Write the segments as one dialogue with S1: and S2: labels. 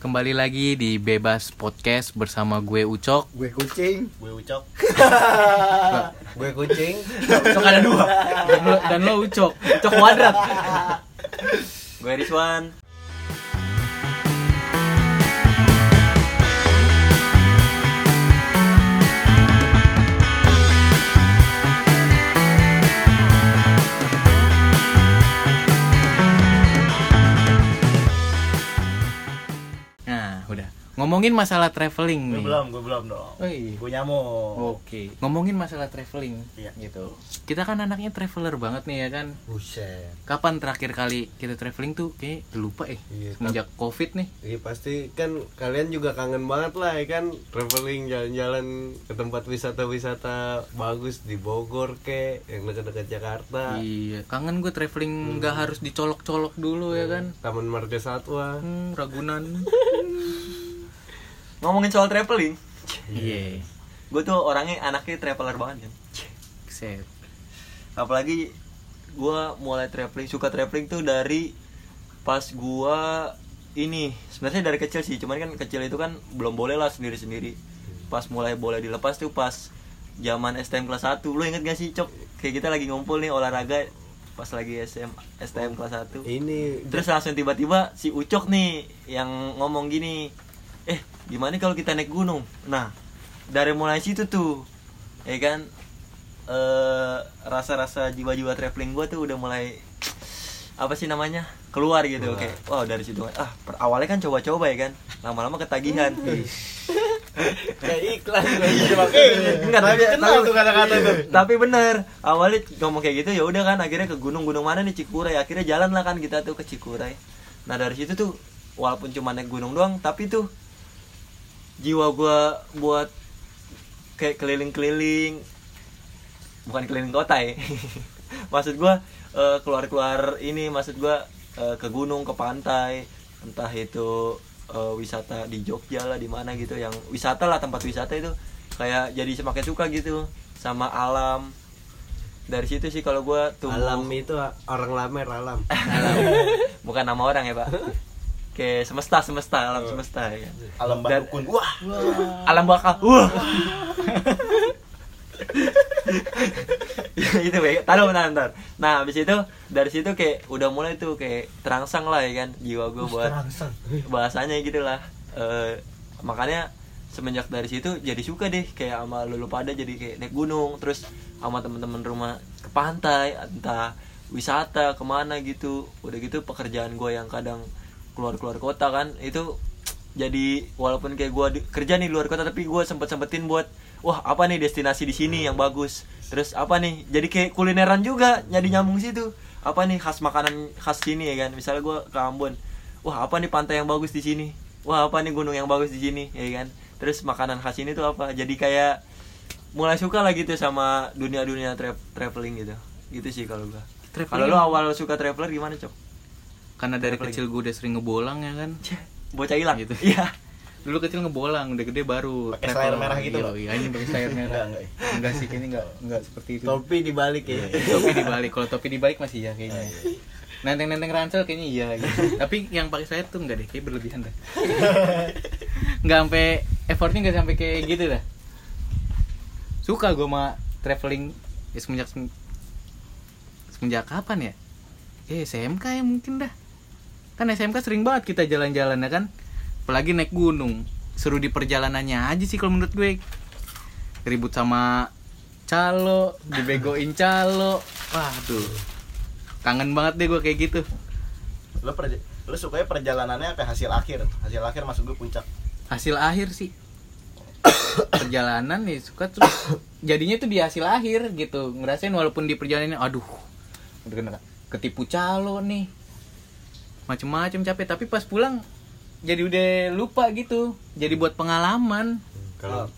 S1: Kembali lagi di Bebas Podcast bersama gue Ucok.
S2: Gue kucing.
S3: gue ucok
S2: Gue kucing.
S1: Ucok ada dua. Dan lo, dan lo Ucok. Ucok kuadrat.
S3: gue Rizwan
S1: Nah, udah. Ngomongin masalah traveling
S3: gue
S1: nih. Oh iya.
S3: belum gue belum dong
S1: Oi.
S2: Oh,
S3: gue nyamuk
S1: Oke. Ngomongin masalah traveling.
S3: Iya.
S1: Gitu. Kita kan anaknya traveler banget nih ya kan.
S2: Buset.
S1: Kapan terakhir kali kita traveling tuh kayak lupa eh.
S2: Iya,
S1: Semenjak Covid nih.
S2: Iya pasti kan kalian juga kangen banget lah ya kan traveling jalan-jalan ke tempat wisata-wisata bagus di Bogor ke yang dekat-dekat Jakarta.
S1: Iya, kangen gue
S4: Hmm.
S1: traveling nggak harus dicolok-colok dulu ya
S4: Iya.
S1: kan.
S2: Taman Marga Satwa.
S1: Hmm, Ragunan.
S3: ngomongin soal traveling
S1: Iya.
S3: gue tuh orangnya anaknya traveler banget kan
S1: Set.
S3: apalagi gue mulai traveling suka traveling tuh dari pas gue ini sebenarnya dari kecil sih cuman kan kecil itu kan belum boleh lah sendiri sendiri pas mulai boleh dilepas tuh pas zaman STM kelas 1 lu inget gak sih cok kayak kita lagi ngumpul nih olahraga pas lagi SM STM kelas 1
S2: Ini
S3: Terus langsung tiba-tiba si Ucok nih yang ngomong gini, eh gimana kalau kita naik gunung? Nah dari mulai situ tuh, ya kan eh, rasa-rasa jiwa-jiwa traveling gue tuh udah mulai apa sih namanya keluar gitu oke wow dari situ ah per- awalnya kan coba-coba ya kan lama-lama ketagihan
S2: Hmm. kayak iklan gue
S3: Enggak, tapi,
S2: kenal
S3: tapi-
S2: tuh kata-kata tuh.
S3: tapi bener awalnya ngomong kayak gitu ya udah kan akhirnya ke gunung-gunung mana nih Cikuray akhirnya jalan lah kan kita tuh ke Cikuray nah dari situ tuh walaupun cuma naik gunung doang tapi tuh jiwa gua buat kayak keliling-keliling bukan keliling kota ya maksud gua eh, keluar-keluar ini maksud gua eh, ke gunung ke pantai entah itu eh, wisata di Jogja lah di mana gitu yang wisata lah tempat wisata itu kayak jadi semakin suka gitu sama alam dari situ sih kalau gua tuh
S2: Alam itu orang lamer alam.
S3: bukan nama orang ya pak kayak semesta semesta alam semesta ya
S4: alam
S3: Dan-
S4: bakukun wah
S3: alam bakal wah Ya, itu baik taruh bentar, bentar. nah habis itu dari situ kayak udah mulai tuh kayak terangsang lah ya kan jiwa gue buat bahasanya gitu lah Eh, makanya semenjak dari situ jadi suka deh kayak sama lulu pada jadi kayak naik gunung terus sama temen-temen rumah ke pantai entah wisata kemana gitu udah gitu pekerjaan gue yang kadang keluar-keluar kota kan itu jadi walaupun kayak gue kerja nih luar kota tapi gue sempet sempetin buat wah apa nih destinasi di sini yang bagus terus apa nih jadi kayak kulineran juga jadi nyambung situ apa nih khas makanan khas sini ya kan misalnya gue ke Ambon wah apa nih pantai yang bagus di sini wah apa nih gunung yang bagus di sini ya kan terus makanan khas ini tuh apa jadi kayak mulai suka lah gitu sama dunia dunia traveling gitu gitu sih kalau gua
S1: Traveling.
S3: kalau lu awal suka traveler gimana cok
S1: Karena dari kecil gue udah sering ngebolang ya kan.
S3: bocah hilang
S1: Gitu.
S3: iya
S1: dulu kecil ngebolang udah gede baru travel.
S4: Pakai selayar merah gitu
S1: Iya,
S4: loh.
S1: iya ini pakai selayar merah
S4: Enggak, enggak. iya.
S1: enggak sih kayaknya enggak enggak seperti itu
S2: Topi dibalik
S1: Iya,
S2: ya.
S1: topi dibalik kalau topi dibalik masih ya kayaknya nenteng nenteng ransel kayaknya iya gitu. tapi yang pakai selayar tuh enggak deh kayak berlebihan dah enggak sampai effortnya enggak sampai kayak gitu dah suka gue sama traveling ya, semenjak semenjak kapan ya ya SMK ya mungkin dah kan SMK sering banget kita jalan-jalan ya kan apalagi naik gunung seru di perjalanannya aja sih kalau menurut gue ribut sama calo dibegoin calo wah tuh kangen banget deh gue kayak gitu
S4: lo perja- lo sukanya perjalanannya apa hasil akhir hasil akhir masuk gue puncak
S1: hasil akhir sih perjalanan nih suka terus jadinya tuh di hasil akhir gitu ngerasain walaupun di perjalanan aduh udah kena ketipu calo nih macem-macem capek tapi pas pulang jadi udah lupa gitu jadi buat pengalaman
S2: Kalau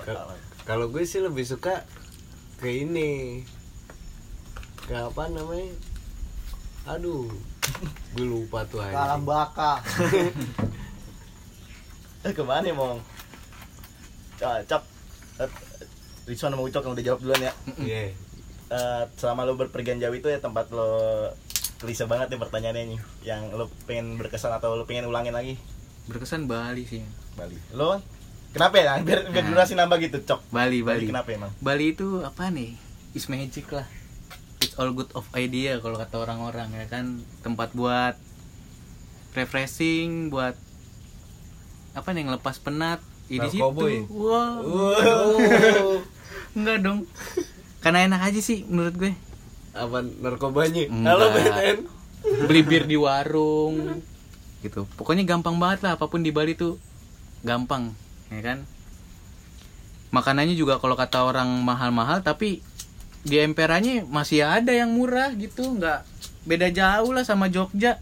S2: ka- kalau gue sih lebih suka ke ini. Ke apa namanya? Aduh, gue lupa tuh aja.
S4: baka eh kemana mong cocok Eh, Rizwan sama Ucok yang udah jawab duluan ya
S2: Iya.
S4: Eh, selama lo berpergian jauh itu ya tempat ya lo klise banget nih pertanyaannya nih yang lo pengen berkesan atau lo pengen ulangin lagi
S1: berkesan Bali sih
S4: Bali lo kenapa ya biar biar
S1: Nah.
S4: durasi nambah gitu cok
S1: Bali Bali
S4: kenapa emang
S1: Bali itu apa nih is magic lah it's all good of idea kalau kata orang-orang ya kan tempat buat refreshing buat apa nih ngelepas penat Ya, di situ
S2: Narkoboy.
S1: wow
S2: Wow.
S1: enggak dong karena enak aja sih menurut gue
S2: Apa narkobanya?
S1: Enggak.
S2: Halo BNN.
S1: beli bir di warung gitu pokoknya gampang banget lah apapun di Bali tuh gampang ya kan makanannya juga kalau kata orang mahal-mahal tapi di emperannya masih ada yang murah gitu nggak beda jauh lah sama Jogja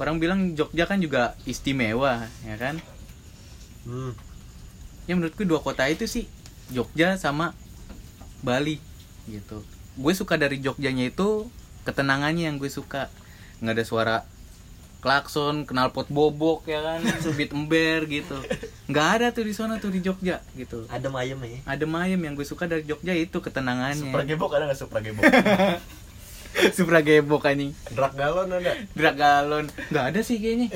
S1: orang bilang Jogja kan juga istimewa ya kan
S2: Hmm.
S1: ya menurutku dua kota itu sih Jogja sama Bali gitu gue suka dari Jogjanya itu ketenangannya yang gue suka nggak ada suara klakson knalpot bobok ya kan subit ember gitu nggak ada tuh di sana tuh di Jogja gitu
S3: adem ayem ya
S1: adem ayem yang gue suka dari Jogja itu ketenangannya
S4: supra gebok ada nggak supra gebok
S1: supra gebok anjing
S2: Drak galon ada.
S1: drag galon nggak ada sih kayaknya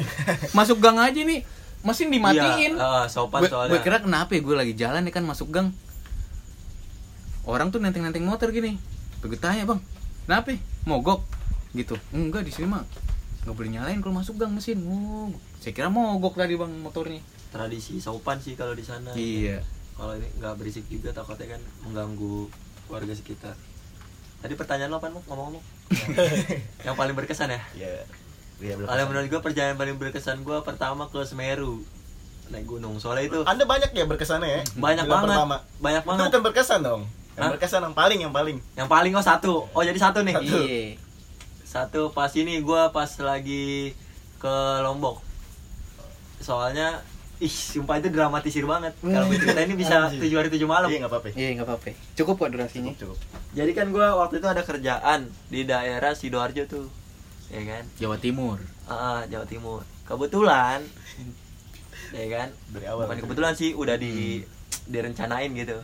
S1: masuk gang aja nih mesin dimatiin
S3: Iya, eh, sopan
S1: gue,
S3: soalnya.
S1: gue kira kenapa ya gue lagi jalan ya kan masuk gang orang tuh nenteng nenteng motor gini Tuh gue tanya bang kenapa ya? mogok gitu enggak di sini mah nggak boleh nyalain kalau masuk gang mesin oh, saya kira mogok tadi bang motornya
S3: tradisi sopan sih kalau di sana
S1: Iya.
S3: kalau ini nggak berisik juga takutnya kan mengganggu warga sekitar tadi pertanyaan lo apa Mo? ngomong-ngomong yang paling berkesan ya
S4: ya ya belum
S3: kalau menurut gue perjalanan paling berkesan gue pertama ke Semeru naik gunung soalnya itu
S4: anda banyak ya berkesannya ya
S3: Banyak
S4: Bilang
S3: banget.
S4: pertama.
S3: Banyak
S4: Itu
S3: banget.
S4: bukan berkesan dong yang
S3: Hah?
S4: berkesan yang paling yang paling
S3: yang paling oh satu oh jadi satu nih
S1: iya
S3: Satu pas ini gua pas lagi ke Lombok. Soalnya ih sumpah itu dramatisir banget. Kalau gue cerita ini bisa
S4: Hmm. Anjir.
S3: tujuh hari tujuh malam.
S4: iya nggak apa-apa
S1: iya nggak apa-apa cukup kok durasinya
S4: cukup cukup
S3: Jadi kan gua waktu itu ada kerjaan di daerah sidoarjo tuh, ya kan?
S1: Jawa Timur
S3: Ah, Jawa Timur. Kebetulan, ya kan?
S4: Dari awal. Hmm.
S3: Bukan kebetulan sih udah di direncanain gitu.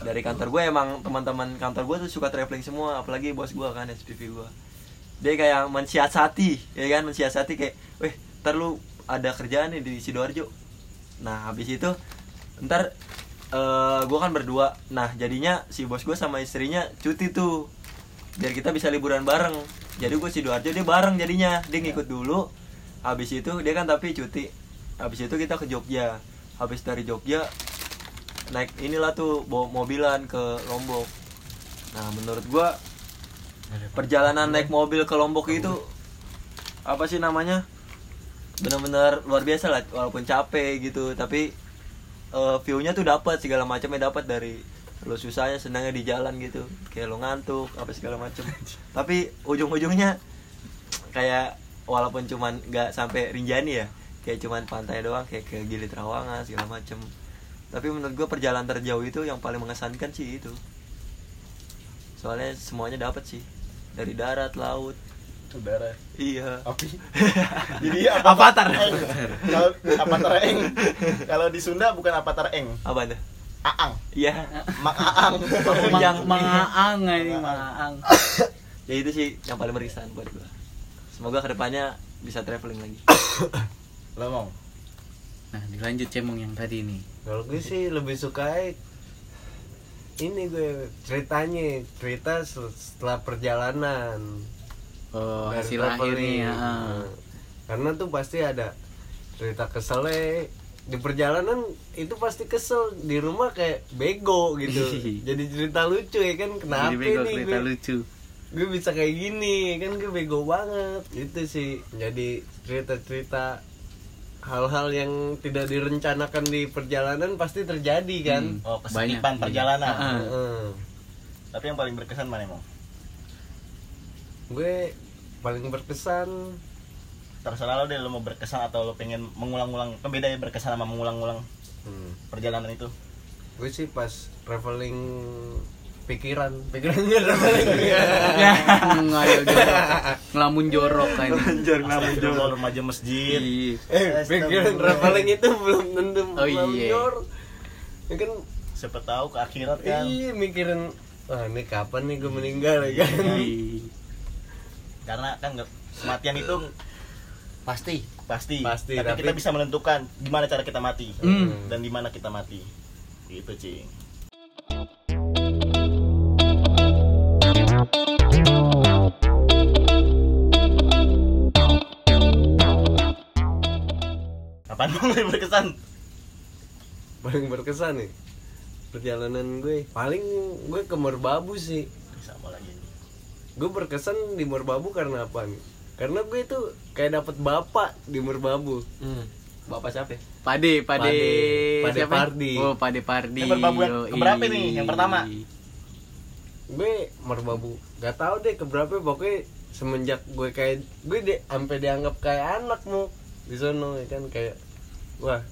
S3: Dari kantor gue emang teman-teman kantor gue tuh suka traveling semua, apalagi bos gue kan SPV gue. Dia kayak mensiasati, ya kan? Mensiasati kayak, weh, ntar lu ada kerjaan nih di sidoarjo. Nah habis itu, ntar eh gue kan berdua. Nah jadinya si bos gue sama istrinya cuti tuh, biar kita bisa liburan bareng. Jadi gue sidoarjo dia bareng jadinya, dia ngikut dulu. Habis itu dia kan tapi cuti. Habis itu kita ke Jogja. Habis dari Jogja naik inilah tuh bawa mobilan ke Lombok. Nah, menurut gua perjalanan naik mobil ke Lombok itu apa sih namanya? Benar-benar luar biasa lah walaupun capek gitu, tapi eh, view-nya tuh dapat segala macamnya dapat dari lo susahnya senangnya di jalan gitu kayak lo ngantuk apa segala macem tapi ujung-ujungnya kayak walaupun cuman nggak sampai Rinjani ya kayak cuman pantai doang kayak ke Gili Trawangan segala macem tapi menurut gue perjalanan terjauh itu yang paling mengesankan sih itu soalnya semuanya dapat sih dari darat laut
S4: saudara
S3: iya
S4: api jadi Eh, iya.
S3: Avatar.
S4: eng. kalau avatar eng kalau di Sunda bukan avatar eng
S3: apa tuh
S4: aang
S3: iya
S4: mak aang
S1: Mang-
S3: Yang-
S1: Mangaang ini Mangaang
S3: ya itu sih yang paling berkesan buat gue semoga kedepannya bisa traveling lagi
S4: lomong
S1: nah dilanjut cemong yang tadi nih
S2: Kalau gue sih lebih suka ini gue ceritanya cerita sel- setelah perjalanan
S1: oh,
S2: Dari
S1: hasil
S2: traveling.
S1: akhirnya ah.
S2: Nah, karena tuh pasti ada cerita keselnya di perjalanan itu pasti kesel di rumah kayak bego gitu jadi cerita lucu ya kan kenapa
S1: jadi bego
S2: nih
S1: cerita
S2: gue-
S1: lucu
S2: gue bisa kayak gini kan gue bego banget itu sih jadi cerita-cerita hal-hal yang tidak direncanakan di perjalanan pasti terjadi
S1: Hmm.
S2: kan
S4: oh
S1: Banyak,
S4: kesedihan
S1: iya. Ah,
S4: perjalanan
S1: ah.
S2: Heeh.
S4: tapi yang paling berkesan mana emang
S2: gue paling berkesan
S4: terserah lo deh lo mau berkesan atau lo pengen mengulang-ulang kan beda ya berkesan sama mengulang-ulang
S2: hmm,
S4: perjalanan itu
S2: gue sih pas traveling pikiran Ya. pikirannya traveling
S1: Hmm, ayo jorok. Ngelamun jorok kan.
S4: Astagfirullah, remaja masjid
S1: Iya.
S2: eh pikiran traveling itu belum tentu
S1: Oh,
S2: belum
S1: iya.
S2: nyor. ya kan
S4: siapa tahu ke akhirat kan
S2: iya mikirin wah ini kapan nih gue meninggal ya kan
S1: Iya.
S4: karena kan nggak- kematian itu pasti pasti
S2: Pasti,
S4: tapi,
S2: tapi-
S4: kita bisa menentukan gimana cara kita mati
S1: Hmm.
S4: dan di mana kita mati gitu cing Apaan dong yang berkesan?
S2: paling berkesan nih perjalanan gue paling gue ke Merbabu sih
S4: Sama lagi nih.
S2: gue berkesan di Merbabu karena apa nih karena gue itu kayak dapet bapak di Merbabu
S3: Hmm. Bapak siapa? ya?
S1: Pade, Pade,
S2: Pade. Pade
S1: siapa?
S2: Pardi.
S1: Oh, Pade Pardi.
S4: Yang berbabu yang
S1: Yoi.
S4: keberapa nih? Yang pertama?
S2: gue merbabu gak tau deh keberapa pokoknya semenjak gue kayak gue deh sampai dianggap kayak anak mau di sono ya kan kayak wah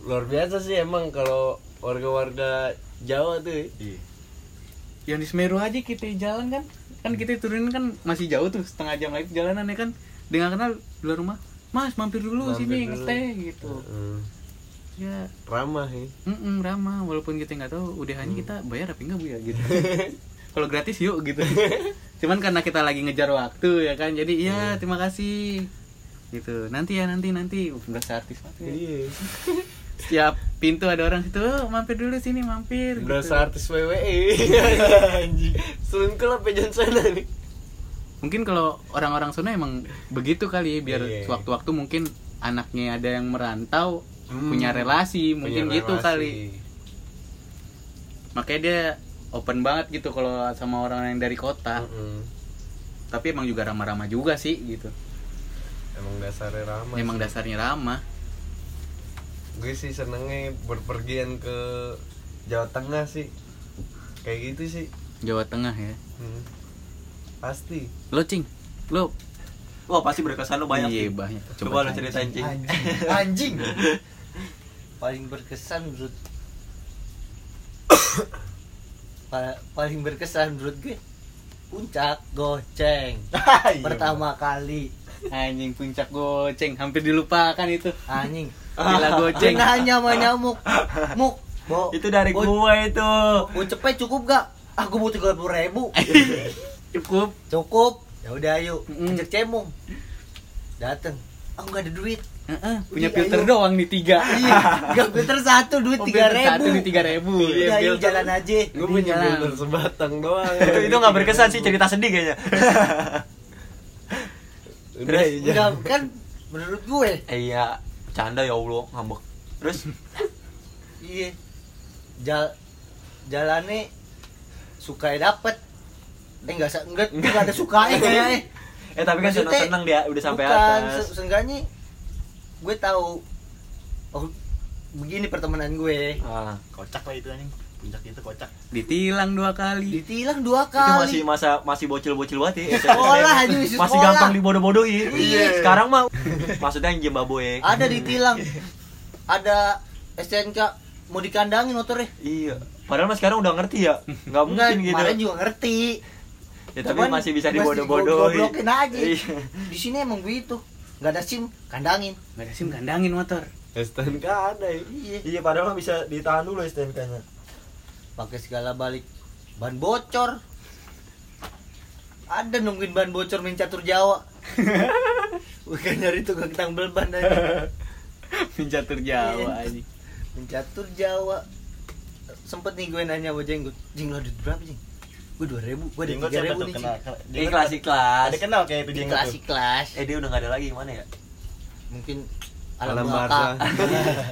S2: luar biasa sih emang kalau warga-warga Jawa tuh ya.
S1: Iya. Yang di Semeru aja kita jalan kan? Kan kita turunin kan masih jauh tuh, setengah jam lagi jalanan ya kan. Dengan kenal di luar rumah. Mas, mampir dulu
S2: Mampir
S1: sini
S2: dulu."
S1: ngeteh gitu.
S2: Heeh.
S1: Ya,
S2: ramah ya
S1: mm ramah walaupun kita nggak tahu UDH-nya
S2: Hmm.
S1: kita bayar apa enggak Bu ya gitu. Kalau gratis yuk gitu. Cuman karena kita lagi ngejar waktu ya kan. Jadi iya terima kasih. Gitu. Nanti ya nanti nanti Uh, berasa artis banget ya.
S2: iya
S1: Setiap pintu ada orang situ, "Oh, mampir dulu sini, mampir.
S2: berasa
S1: gitu.
S2: artis E. WWE selingkuh lah pejan sana ya, nih
S1: Mungkin kalau orang-orang sana emang begitu kali ya, biar
S2: Iya.
S1: sewaktu-waktu mungkin anaknya ada yang merantau,
S2: Hmm.
S1: punya relasi, mungkin
S2: Punya
S1: gitu
S2: relasi.
S1: kali. Makanya dia open banget gitu kalau sama orang yang dari kota.
S2: Heeh.
S1: Tapi emang juga ramah-ramah juga sih gitu.
S2: emang dasarnya ramah
S1: Emang
S2: sih.
S1: dasarnya ramah.
S2: gue sih senengnya berpergian ke Jawa Tengah sih kayak gitu sih
S1: Jawa Tengah ya.
S2: Hmm. pasti
S1: Lo Cing, lo
S3: Wah pasti berkesan lu banyak.
S1: Iya,
S3: Cing.
S1: banyak.
S3: Coba, lu
S1: Cing.
S3: ceritain cing.
S5: anjing paling berkesan menurut Pa- paling berkesan menurut gue puncak goceng
S4: Ah, iya,
S5: pertama kali
S1: Anjing puncak goceng, hampir dilupakan itu.
S5: anjing
S1: Gila goceng.
S5: Dengan nyama nyamuk muk bo
S3: Itu dari
S5: bo-
S3: gua itu.
S5: ucepnya cukup gak aku butuh tiga puluh ribu
S3: Eh.
S1: Cukup.
S5: cukup ya udah yuk
S1: Mm-mm.
S5: ajak cemung dateng aku nggak ada duit
S1: Heeh, punya
S5: Iya,
S1: filter
S5: iya.
S1: doang nih tiga.
S5: Gak filter satu duit
S1: Oh,
S5: tiga
S1: filter
S5: ribu
S1: Satu nih tiga ribu.
S3: Iya,
S1: Iya,
S5: Udah yuk jalan aja
S2: gue punya
S1: Jalan.
S2: filter sebatang doang
S3: itu itu nggak berkesan sih cerita sedih kayaknya.
S2: udah iya.
S5: Enggak, kan menurut gue
S3: Eh, Iya, bercanda ya Allah, ngambek. Terus
S5: Iya Jal Jalannya Suka dapet Eh enggak, sa- enggak, enggak ada sukanya kayaknya
S3: eh tapi kan
S5: Maksudnya,
S3: seneng-seneng dia udah sampai
S5: Bukan, se-
S3: atas.
S5: seenggaknya Gue tahu Oh Begini pertemanan gue
S3: Ah.
S4: Kocak lah itu anjing. Puncak itu kocak.
S1: Ditilang dua kali.
S5: Ditilang dua
S3: itu
S5: kali
S3: masih masa masih bocil-bocil banget ya.
S5: Sekolah, anjing, masih
S3: Masih
S5: sekolah.
S3: gampang dibodoh-bodohin.
S5: Iya.
S3: Sekarang mah maksudnya yang Zimbabwe.
S5: Ada ditilang Ada STNK Mau dikandangin motornya
S3: Iya. Padahal mas sekarang udah ngerti ya. Nggak
S5: Enggak,
S3: mungkin gitu.
S5: kemarin juga ngerti
S3: Ya tapi
S5: Cuman
S3: masih bisa
S5: masih
S3: dibodoh-bodohin.
S5: digoblokin aja.
S3: Iya.
S5: Di sini emang begitu. Gak ada SIM, kandangin.
S1: Gak ada SIM kandangin motor.
S2: STNK ada ya
S5: Iya.
S6: Iya padahal nggak bisa ditahan dulu STNK-nya.
S5: Pakai segala balik. Ban bocor. Ada nungguin ban bocor main catur Jawa. Bukan nyari tukang tambal ban aja.
S1: Mencatur Jawa anjing.
S5: Main catur Jawa. Sempet nih gue nanya sama Jenggot, "Jeng lo duit berapa, Jeng?" Gue 2000, gue ada
S4: Jenggot siapa
S5: 3000
S4: tuh
S5: nih.
S4: kenal?
S5: Jeng."
S3: Ini
S4: Jenggot
S3: kelas kelas.
S4: Ada kenal kayak itu
S5: Di
S4: jenggot
S5: kelas
S4: tuh.
S5: kelas.
S3: Eh dia udah nggak ada lagi gimana ya?
S5: Mungkin
S2: Alam
S5: alam
S2: barza.
S5: baka.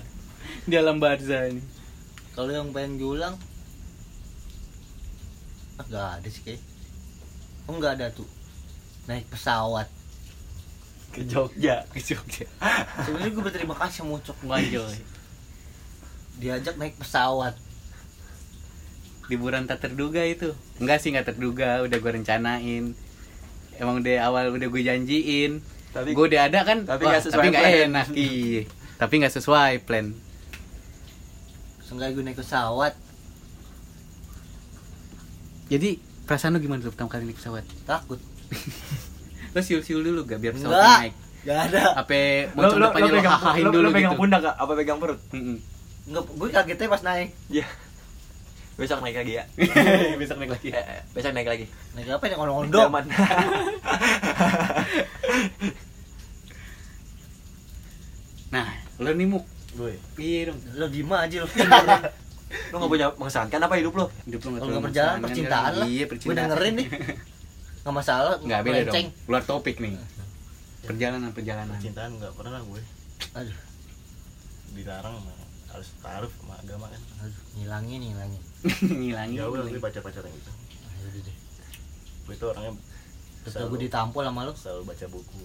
S1: Di alam barza ini.
S5: Kalau yang pengen julang ah, nggak ada sih kayak. Oh nggak ada tuh. Naik pesawat.
S3: Ke Jogja.
S1: Ke Jogja.
S5: Sebenarnya gue berterima kasih sama Ucok
S1: Wanjoy.
S5: diajak naik pesawat.
S1: Liburan tak terduga itu. Enggak sih nggak terduga, udah gue rencanain. Emang dari awal udah gue janjiin.
S3: Tapi-
S1: gue udah ada kan.
S3: tapi
S1: wah,
S3: nggak sesuai
S1: tapi nggak
S3: plan.
S1: enak. Iya. Tapi nggak sesuai plan.
S5: Seenggaknya gue naik pesawat.
S1: Jadi perasaan lu gimana tuh pertama kali naik pesawat?
S5: Takut.
S1: Lu siul-siul dulu gak biar pesawat
S5: Enggak.
S1: naik?
S5: Gak ada.
S1: Apa moncong depannya lu hahain
S3: lu-
S1: dulu
S3: lu pegang
S1: gitu?
S3: pundak nggak? apa pegang perut?
S1: Mm-mm.
S5: Nggak, gue kagetnya pas naik.
S3: Iya. Besok naik lagi ya.
S1: Besok naik lagi.
S3: Eh, eh, Besok naik lagi.
S5: Naik apa? Naik ondong.
S3: Zaman.
S1: Nah, lo nih muk.
S4: Gue.
S1: Iya dong.
S5: Lo gimana aja lo?
S3: Lu nggak punya mengesankan apa hidup lu?
S1: Hidup lo
S5: Kalau
S1: terlalu
S5: nggak berjalan
S1: masalah,
S5: percintaan
S1: kan?
S5: lah.
S1: Iya,
S5: Gue
S1: percintaan.
S5: dengerin nih. Nggak masalah.
S1: Enggak beda dong.
S5: melenceng.
S1: Luar topik nih. Perjalanan perjalanan.
S4: Cintaan nggak pernah gue.
S5: Aduh,
S4: Dilarang sama- harus taruh sama agama kan.
S5: aduh, ngilangin ngilangin.
S1: Ngilangin.
S4: Jauh lah gue
S1: ngilangin.
S4: pacar-pacar yang gitu.
S5: Ah, yaudah deh.
S4: Gue itu orangnya
S5: Ketua gue ditampol sama lo.
S4: selalu baca buku.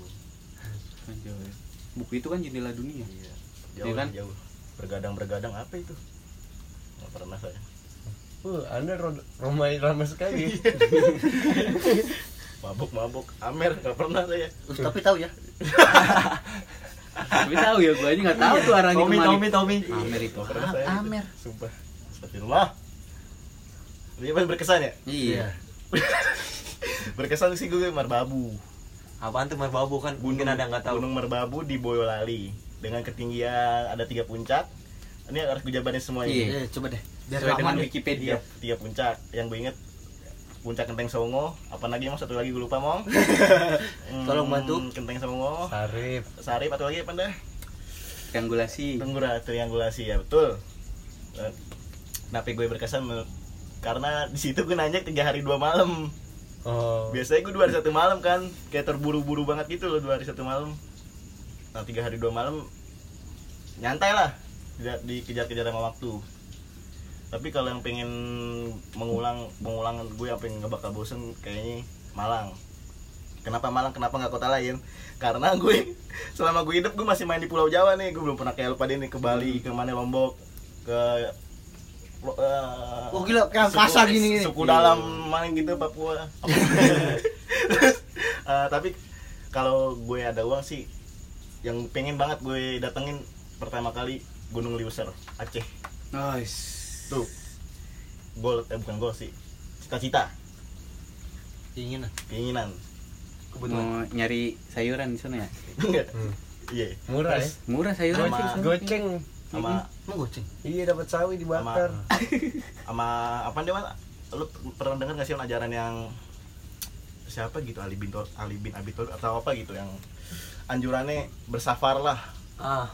S1: Jauh ya. Buku itu kan jendela dunia.
S4: Iya.
S1: Iya
S4: Jauh
S1: kan?
S4: jauh. Bergadang-bergadang apa itu? Nggak pernah saya.
S2: Uh, anda ro- ramai ramai sekali.
S4: Mabuk-mabuk Amer nggak pernah saya.
S5: Terus tapi tahu ya.
S1: Gue tahu ya, gue aja nggak tahu tuh arahnya
S3: Tommy,
S1: kemana.
S3: Tommy, Tommy.
S1: Amer itu.
S4: Nggak pernah saya. gitu.
S1: Amer.
S4: Sumpah. Astagfirullah. Dia paling berkesan ya?
S1: Iya.
S4: Berkesan sih gue Marbabu.
S3: Apaan tuh Merbabu kan? Mungkin ada yang nggak tahu.
S4: Gunung Merbabu di Boyolali dengan ketinggian ada tiga puncak. Ini harus gue jabarin semuanya.
S1: Iya.
S5: Iya, coba deh. Biar
S1: Sesuai dengan
S5: aman deh.
S1: Wikipedia.
S4: Tiga, tiga puncak yang gue inget puncak Kenteng Songo, apa lagi mong satu lagi gue lupa mong. Hmm,
S5: Tolong bantu.
S4: Kenteng Songo,
S2: Sarip.
S4: Sarip atau lagi apa dah?
S1: Triangulasi.
S4: Tenggura, triangulasi ya betul. Eh, Kenapa gue berkesan menurut- karena di situ gue nanjak tiga hari dua malam.
S2: Oh.
S4: Biasanya gue dua hari satu malam kan, kayak terburu-buru banget gitu loh dua hari satu malam. Nah tiga hari dua malam nyantai lah, tidak dikejar-kejar sama waktu. Tapi kalau yang pengen mengulang mengulang gue apa yang nggak bakal bosen kayaknya Malang. Kenapa Malang? Kenapa nggak kota lain? Karena gue selama gue hidup gue masih main di Pulau Jawa nih, gue belum pernah kayak lupa deh nih ke Bali, ke mana Lombok, ke lo- eh,
S5: Oh, gila, kayak angkasa
S4: suku-
S5: gini, gini.
S4: Suku dalam mana gitu Papua. Terus, eh, tapi kalau gue ada uang sih yang pengen banget gue datengin pertama kali Gunung Liuser, Aceh.
S1: Nice.
S4: Tuh. Gol eh bukan gol sih. Cita-cita,
S5: Dingin lah.
S4: keinginan.
S1: Mau nyari sayuran di sana ya?
S4: Enggak.
S2: Hmm.
S4: Iya.
S2: Murah ya.
S1: Murah sayuran
S4: Sama
S1: sih. di sana.
S2: Goceng.
S4: Sama
S5: Mau Hmm. goceng.
S2: Iya dapat sawi dibakar.
S4: sama apa nih Wan? Lu pernah dengar gak sih Wan, ajaran yang siapa gitu Ali bin Tol- Ali bin Abi Thalib atau apa gitu yang anjurannya bersafar lah.
S3: Ah,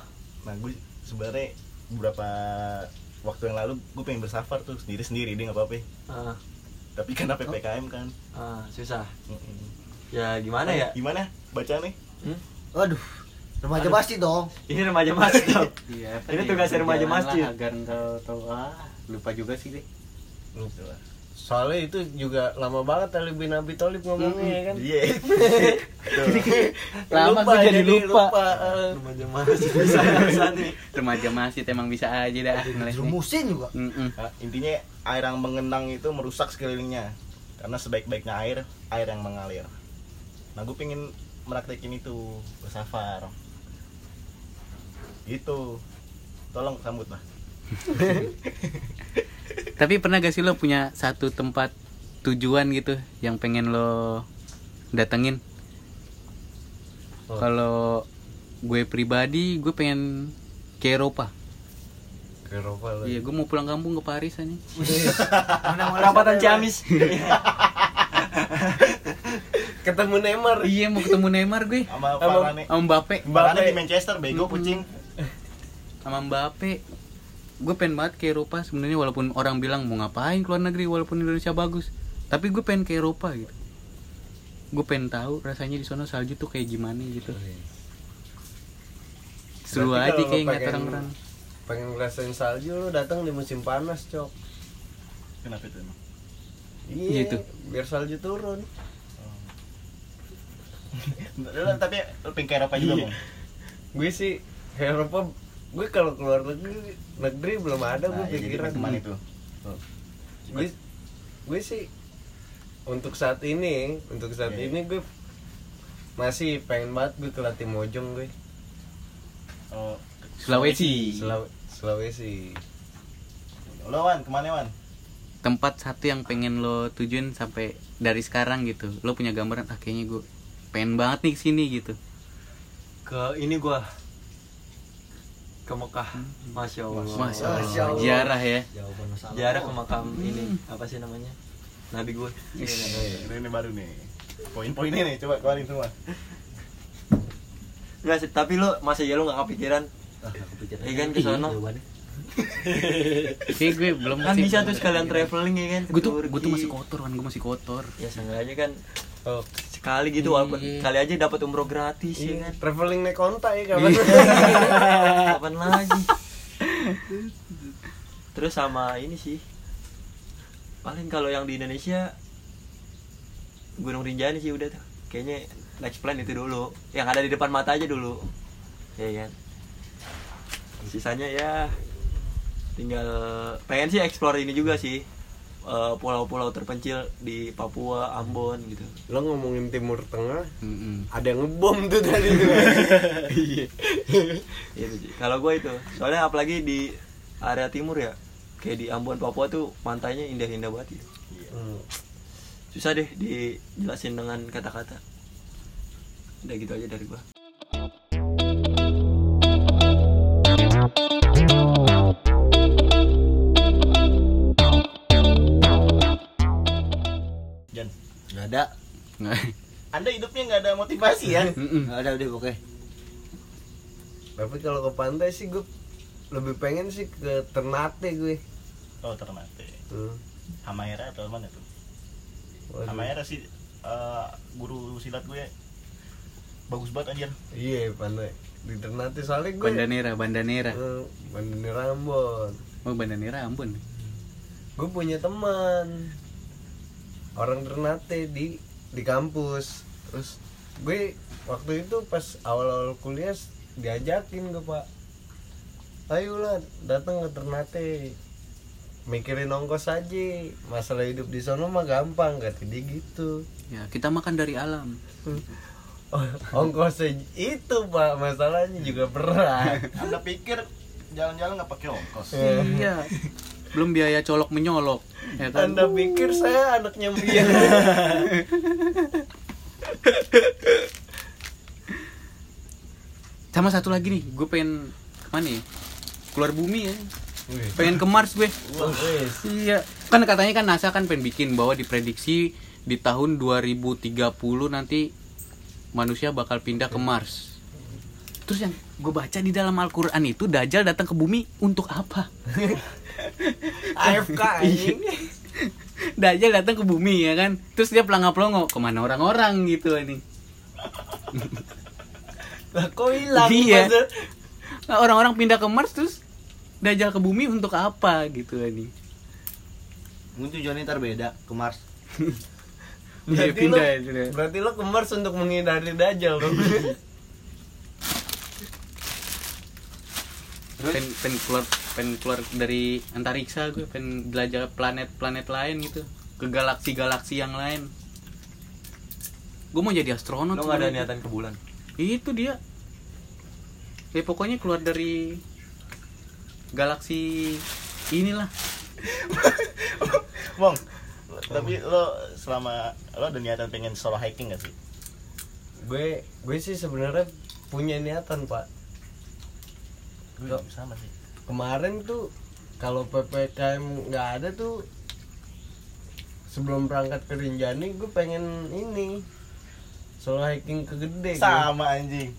S4: Nah, gue sebenarnya beberapa waktu yang lalu gue pengen bersafar tuh sendiri-sendiri dia nggak apa-apa.
S3: ah,
S4: Tapi karena PPKM kan.
S3: ah, susah.
S4: Mm-mm.
S3: Ya gimana ya?
S4: Gimana? Baca nih.
S5: Waduh. Remaja pasti dong.
S3: Ini remaja masjid.
S1: Iya, apa
S3: Ini
S1: nih,
S3: tugasnya remaja
S1: perjalanan
S3: masjid.
S1: lah Agar enggak tahu ah, lupa juga sih deh.
S4: Lupa.
S2: Soalnya itu juga lama banget Ali bin Abi Thalib ngomongnya ya kan.
S4: Iya.
S1: Lama gue jadi lupa.
S2: eh.
S3: Remaja masjid. Susah susah nih.
S1: Remaja masjid emang bisa aja dah ngeles nih.
S5: Rumusin juga.
S1: Mm-mm.
S4: Nah, intinya air yang mengenang itu merusak sekelilingnya karena sebaik-baiknya air air yang mengalir nah gue pengen meraktekin itu bersafar gitu tolong sambut lah
S1: Tapi pernah gak sih lo punya satu tempat tujuan gitu yang pengen lo datengin?
S2: Oh.
S1: Kalau gue pribadi gue pengen ke Eropa.
S2: Ke Eropa lah.
S1: Iya, gue mau pulang kampung ke Paris aja.
S3: Rapatan Ciamis.
S2: Ketemu Neymar.
S1: iya, mau ketemu Neymar gue.
S2: Sama-
S4: sama Farane
S1: Sama Mbappe.
S4: Farane di Manchester bego
S1: Mm-mm.
S4: kucing
S1: sama Mbappe gue pengen banget ke Eropa sebenarnya walaupun orang bilang mau ngapain keluar negeri walaupun Indonesia bagus tapi gue pengen ke Eropa gitu gue pengen tahu rasanya di sana salju tuh kayak gimana gitu seru aja
S2: Berarti kalau
S1: kayak
S2: lo
S1: ngeliat
S2: pengen-
S1: orang-orang
S2: Pengen ngerasain salju lu datang di musim panas, Cok.
S4: kenapa itu emang
S1: Iya, itu.
S2: Biar salju turun.
S4: Lu- tapi lu pengen ke Eropa juga
S2: Iya.
S4: Bang?
S2: Gue sih ke Eropa gue kalau keluar negeri negeri belum ada gue
S4: nah, ya, jadi
S2: pikiran.
S4: teman itu
S2: gue gue sih untuk saat ini untuk saat
S4: Iya, iya.
S2: ini gue masih pengen banget gue ke Latimojong gue
S4: Oh,
S1: Sulawesi
S2: Sulaw- Sulawesi
S4: lo Wan kemana Wan
S1: tempat satu yang pengen lo tujuin sampai dari sekarang gitu lo punya gambaran ah kayaknya gue pengen banget nih kesini gitu
S3: Ke ini gua ke Mekah. Hmm. Masya Allah.
S1: Masya
S5: Masya
S1: Allah
S5: Allah.
S1: Ziarah ya
S5: Jawaban masalah.
S3: Jarak ke makam ini apa sih namanya? Nabi gue.
S4: ini, ini baru nih poin-poinnya nih coba keluarin semua
S3: Enggak sih, tapi lu masa ya lu nggak kepikiran
S5: Ah, nggak kepikiran.
S3: Iya kan, ke sono.
S5: Iya, jawabannya.
S1: Kayak gue belum
S3: kan
S1: sih.
S3: bisa tuh sekalian traveling ya kan ke
S1: Gue tuh gue tuh
S3: Turki.
S1: masih kotor kan, gue masih kotor.
S3: ya seenggaknya kan
S2: Oh.
S3: sekali gitu walaupun
S1: Iya.
S3: kali aja dapat umroh gratis
S2: Iya.
S3: ya kan
S2: traveling naik onta ya kapan
S3: Iya. kapan lagi terus sama ini sih paling kalau yang di Indonesia Gunung Rinjani sih udah tuh kayaknya next plan itu dulu yang ada di depan mata aja dulu ya kan sisanya ya tinggal pengen sih explore ini juga sih eh, pulau-pulau terpencil di Papua Ambon gitu
S2: lo ngomongin timur tengah
S1: Mm-mm.
S2: ada yang ngebom tuh tadi tuh iya
S3: Iya, Ji. kalau gue itu soalnya apalagi di area timur ya kayak di Ambon Papua tuh pantainya indah-indah banget ya.
S2: Hmm.
S3: susah deh dijelasin dengan kata-kata udah gitu aja dari gue
S4: Jan,
S5: Nggak ada.
S1: Nggak.
S4: Anda hidupnya nggak ada motivasi ya?
S1: Mm-mm.
S5: Nggak ada udah pokoknya.
S2: tapi kalau ke pantai sih gue lebih pengen sih ke Ternate gue
S4: Oh Ternate,
S2: Hmm.
S4: Hamaera atau mana tuh?
S2: Waduh.
S4: Hamaera sih eh, guru silat gue bagus banget anjir.
S2: iya pantai di Ternate soalnya gue
S1: Bandanera, Bandanera.
S2: Eh, Bandar Ambon
S1: Oh, Bandanera Ambon.
S2: gue punya teman orang Ternate di di kampus terus gue waktu itu pas awal-awal kuliah diajakin gue pak ayolah datang ke Ternate mikirin ongkos aja masalah hidup di sono mah gampang kata dia gitu
S1: Ya, kita makan dari alam.
S2: ongkosnya itu pak masalahnya juga berat
S4: Anda pikir jalan-jalan nggak pakai ongkos?
S1: Iya. Belum biaya colok menyolok, ya kan?
S2: anda pikir saya anaknya Mbia
S1: Sama satu lagi nih, gue pengen kemana ya? Keluar bumi ya. Pengen ke Mars gue.
S2: Wah, wes.
S1: Iya, kan katanya kan NASA kan pengen bikin bahwa diprediksi di tahun 2030 nanti manusia bakal pindah ke Mars. Terus yang gue baca di dalam Al-Quran itu Dajjal datang ke bumi untuk apa? Iya.
S2: AFK anjing
S1: Dajjal datang ke bumi ya kan? Terus dia pelangap-pelongo kemana orang-orang gitu ini.
S2: lah kok hilang
S1: Iya.
S2: Masa-
S1: Nah, orang-orang pindah ke Mars terus Dajjal ke bumi untuk apa gitu ini.
S5: Mungkin tujuannya ntar beda ke Mars.
S1: Dia
S2: Berarti
S1: pindah
S2: lo-
S1: ya, sudah.
S2: Berarti lo ke Mars untuk menghindari Dajjal dong.
S1: Pen, pen keluar pen keluar dari antariksa gue pen jelajah planet-planet lain gitu ke galaksi-galaksi yang lain gue mau jadi astronot
S3: lo nggak ada
S1: sebenarnya.
S3: niatan ke bulan
S1: itu dia ya pokoknya keluar dari galaksi inilah
S4: Mong, tapi lo selama lo ada niatan pengen solo hiking gak sih?
S2: gue gue sih sebenarnya punya niatan, Pak.
S4: Gue
S2: Lo-
S4: sama sih.
S2: Kemarin tuh kalau PPKM nggak ada tuh sebelum berangkat ke Rinjani gue pengen ini solo hiking ke gede
S5: Iya,
S2: gue.
S4: Sama anjing.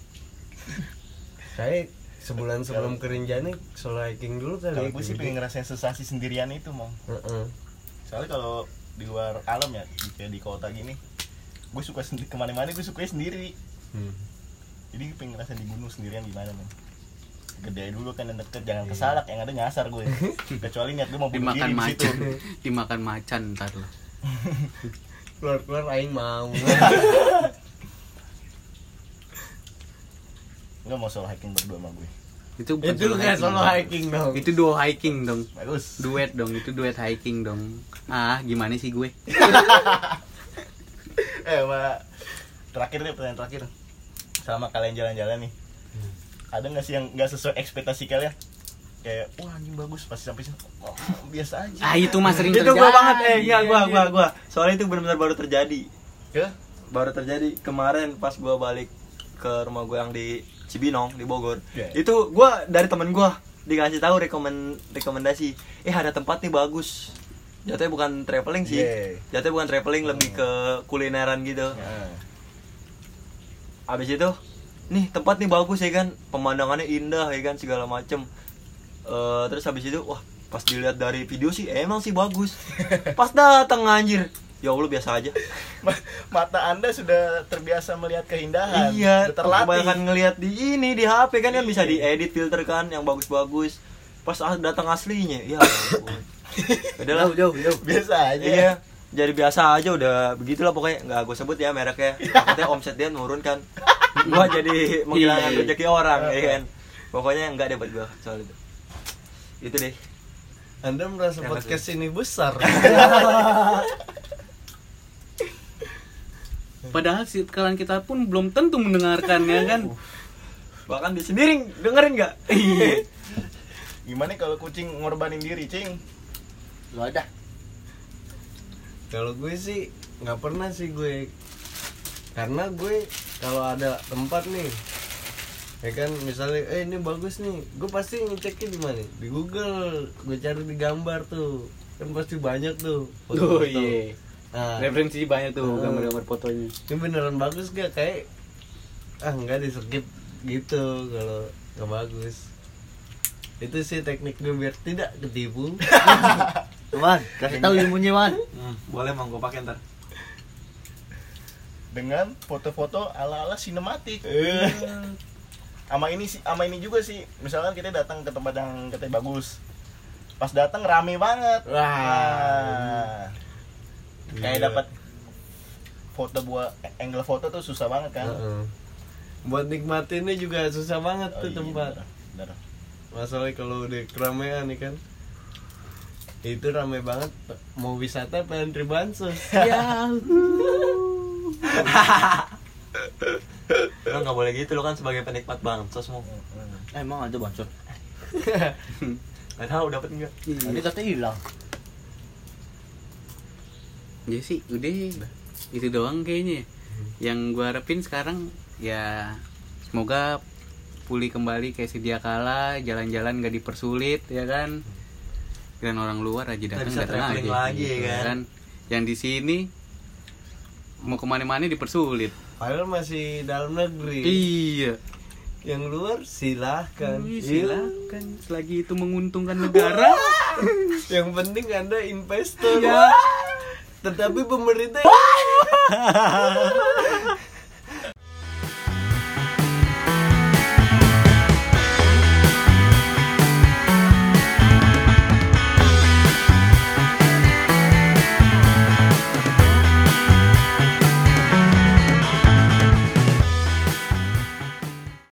S2: saya sebulan sebelum ke Rinjani solo hiking dulu kali
S4: Kalau
S2: ya,
S4: gue
S2: ke
S4: sih
S2: Gede.
S4: pengen ngerasain sensasi sendirian itu, Mong.
S2: Heeh.
S4: Soalnya kalau di luar alam ya, di- kayak di kota gini, gue suka sendiri kemana-mana gue sukanya sendiri.
S2: Hmm.
S4: Jadi gue pengen ngerasain di gunung sendirian gimana, Mong. Gede dulu kan yang deket, jangan kesalak, yang ada nyasar gue. Kecuali niat gue
S3: Oh,
S4: mau bunuh
S1: dimakan
S4: diri di situ.
S1: macan dimakan macan ntar lo
S2: Keluar-keluar aing mau.
S4: Lo mau solo hiking berdua sama gue.
S1: itu bukan
S2: itu nggak solo hiking dong.
S1: itu duo hiking dong
S4: Bagus.
S1: duet dong itu duet hiking dong ah gimana sih gue
S4: eh sama terakhir deh pertanyaan terakhir selama kalian jalan-jalan nih ada nggak sih yang nggak sesuai ekspektasi kalian kayak wah anjing bagus pasti sampai sini "Oh, biasa aja
S1: ah itu mas sering
S3: itu
S1: terjadi Iya,
S3: gue banget eh enggak gue gue gue soalnya itu benar-benar baru terjadi
S4: ya
S3: baru terjadi kemarin pas gue balik ke rumah gue yang di Cibinong di Bogor
S4: Iya.
S3: itu gue dari temen gue dikasih tahu rekomen rekomendasi eh ada tempat nih bagus jatuhnya bukan traveling sih
S4: Iya.
S3: jatuhnya bukan traveling lebih ke kulineran gitu
S4: Nah,
S3: abis itu nih tempat nih bagus ya kan pemandangannya indah ya kan segala macem Eh, terus habis itu wah pas dilihat dari video sih emang sih bagus pas datang anjir ya allah biasa aja
S4: Ma- mata anda sudah terbiasa melihat keindahan
S3: iya
S4: sudah terlatih
S3: kebanyakan ngelihat di ini di hp kan yang bisa diedit filter kan yang bagus-bagus pas ah- datang aslinya ya ampun. udahlah
S5: jauh jauh
S4: biasa aja
S3: Iya. Jadi biasa aja udah begitulah pokoknya nggak gue sebut ya mereknya. Takutnya omset dia nurun kan. gua jadi menghilangkan rezeki orang ya kan. Pokoknya enggak deh buat gua soal itu. Itu deh.
S2: Anda merasa
S3: Yang
S2: podcast ini besar.
S1: Padahal si kalian kita pun belum tentu mendengarkannya kan.
S3: Bahkan di sendiri dengerin nggak? Iya.
S4: gimana kalau kucing ngorbanin diri cing
S5: lu ada
S2: kalau gue sih nggak pernah sih gue karena gue kalau ada tempat nih ya kan misalnya eh ini bagus nih gue pasti ngeceknya di mana di Google gue cari di gambar tuh kan pasti banyak tuh
S1: Tuh,
S5: Oh,
S2: foto-foto.
S1: iya. Ah.
S2: nah,
S1: Referensi banyak tuh
S2: Hmm.
S1: gambar-gambar fotonya.
S2: ini beneran bagus gak kayak ah nggak di skip gitu kalau nggak bagus itu sih teknik gue biar tidak ketipu
S5: Wan kasih tahu ilmunya Wan
S6: Hmm, boleh mau gue pakai ntar.
S4: dengan foto-foto ala-ala sinematik
S2: Eh. Iya.
S4: sama ini sih sama ini juga sih misalkan kita datang ke tempat yang katanya bagus pas datang rame banget
S2: Wah.
S4: Wah. kayak
S2: Gila.
S4: dapat foto buat angle foto tuh susah banget kan
S2: Heeh. buat nikmatinnya juga susah banget
S4: Oh,
S2: tuh
S4: iya,
S2: tempat
S4: bener, bener.
S2: masalahnya kalau udah keramaian nih kan itu ramai banget mau wisata pengen tribansos
S1: Ya
S3: Lo nggak boleh gitu lo kan sebagai penikmat bansos mau.
S5: emang ada bocor
S3: Gak tahu dapat nggak?
S5: tadi katanya hilang
S1: Jadi Ya sih udah itu doang kayaknya. Yang gua harapin sekarang ya semoga pulih kembali kayak sedia kala, jalan-jalan gak dipersulit ya kan. Dan orang luar aja
S3: Nggak
S1: datang
S3: bisa
S1: datang aja.
S3: traveling lagi, ya
S1: ya
S3: kan?
S1: Yang di sini mau kemana-mana dipersulit.
S2: padahal masih dalam negeri
S1: Iya.
S2: yang luar silahkan Iya.
S1: Wih, silakan selagi itu menguntungkan negara.
S2: yang penting anda investor
S1: ya.
S2: tetapi pemerintah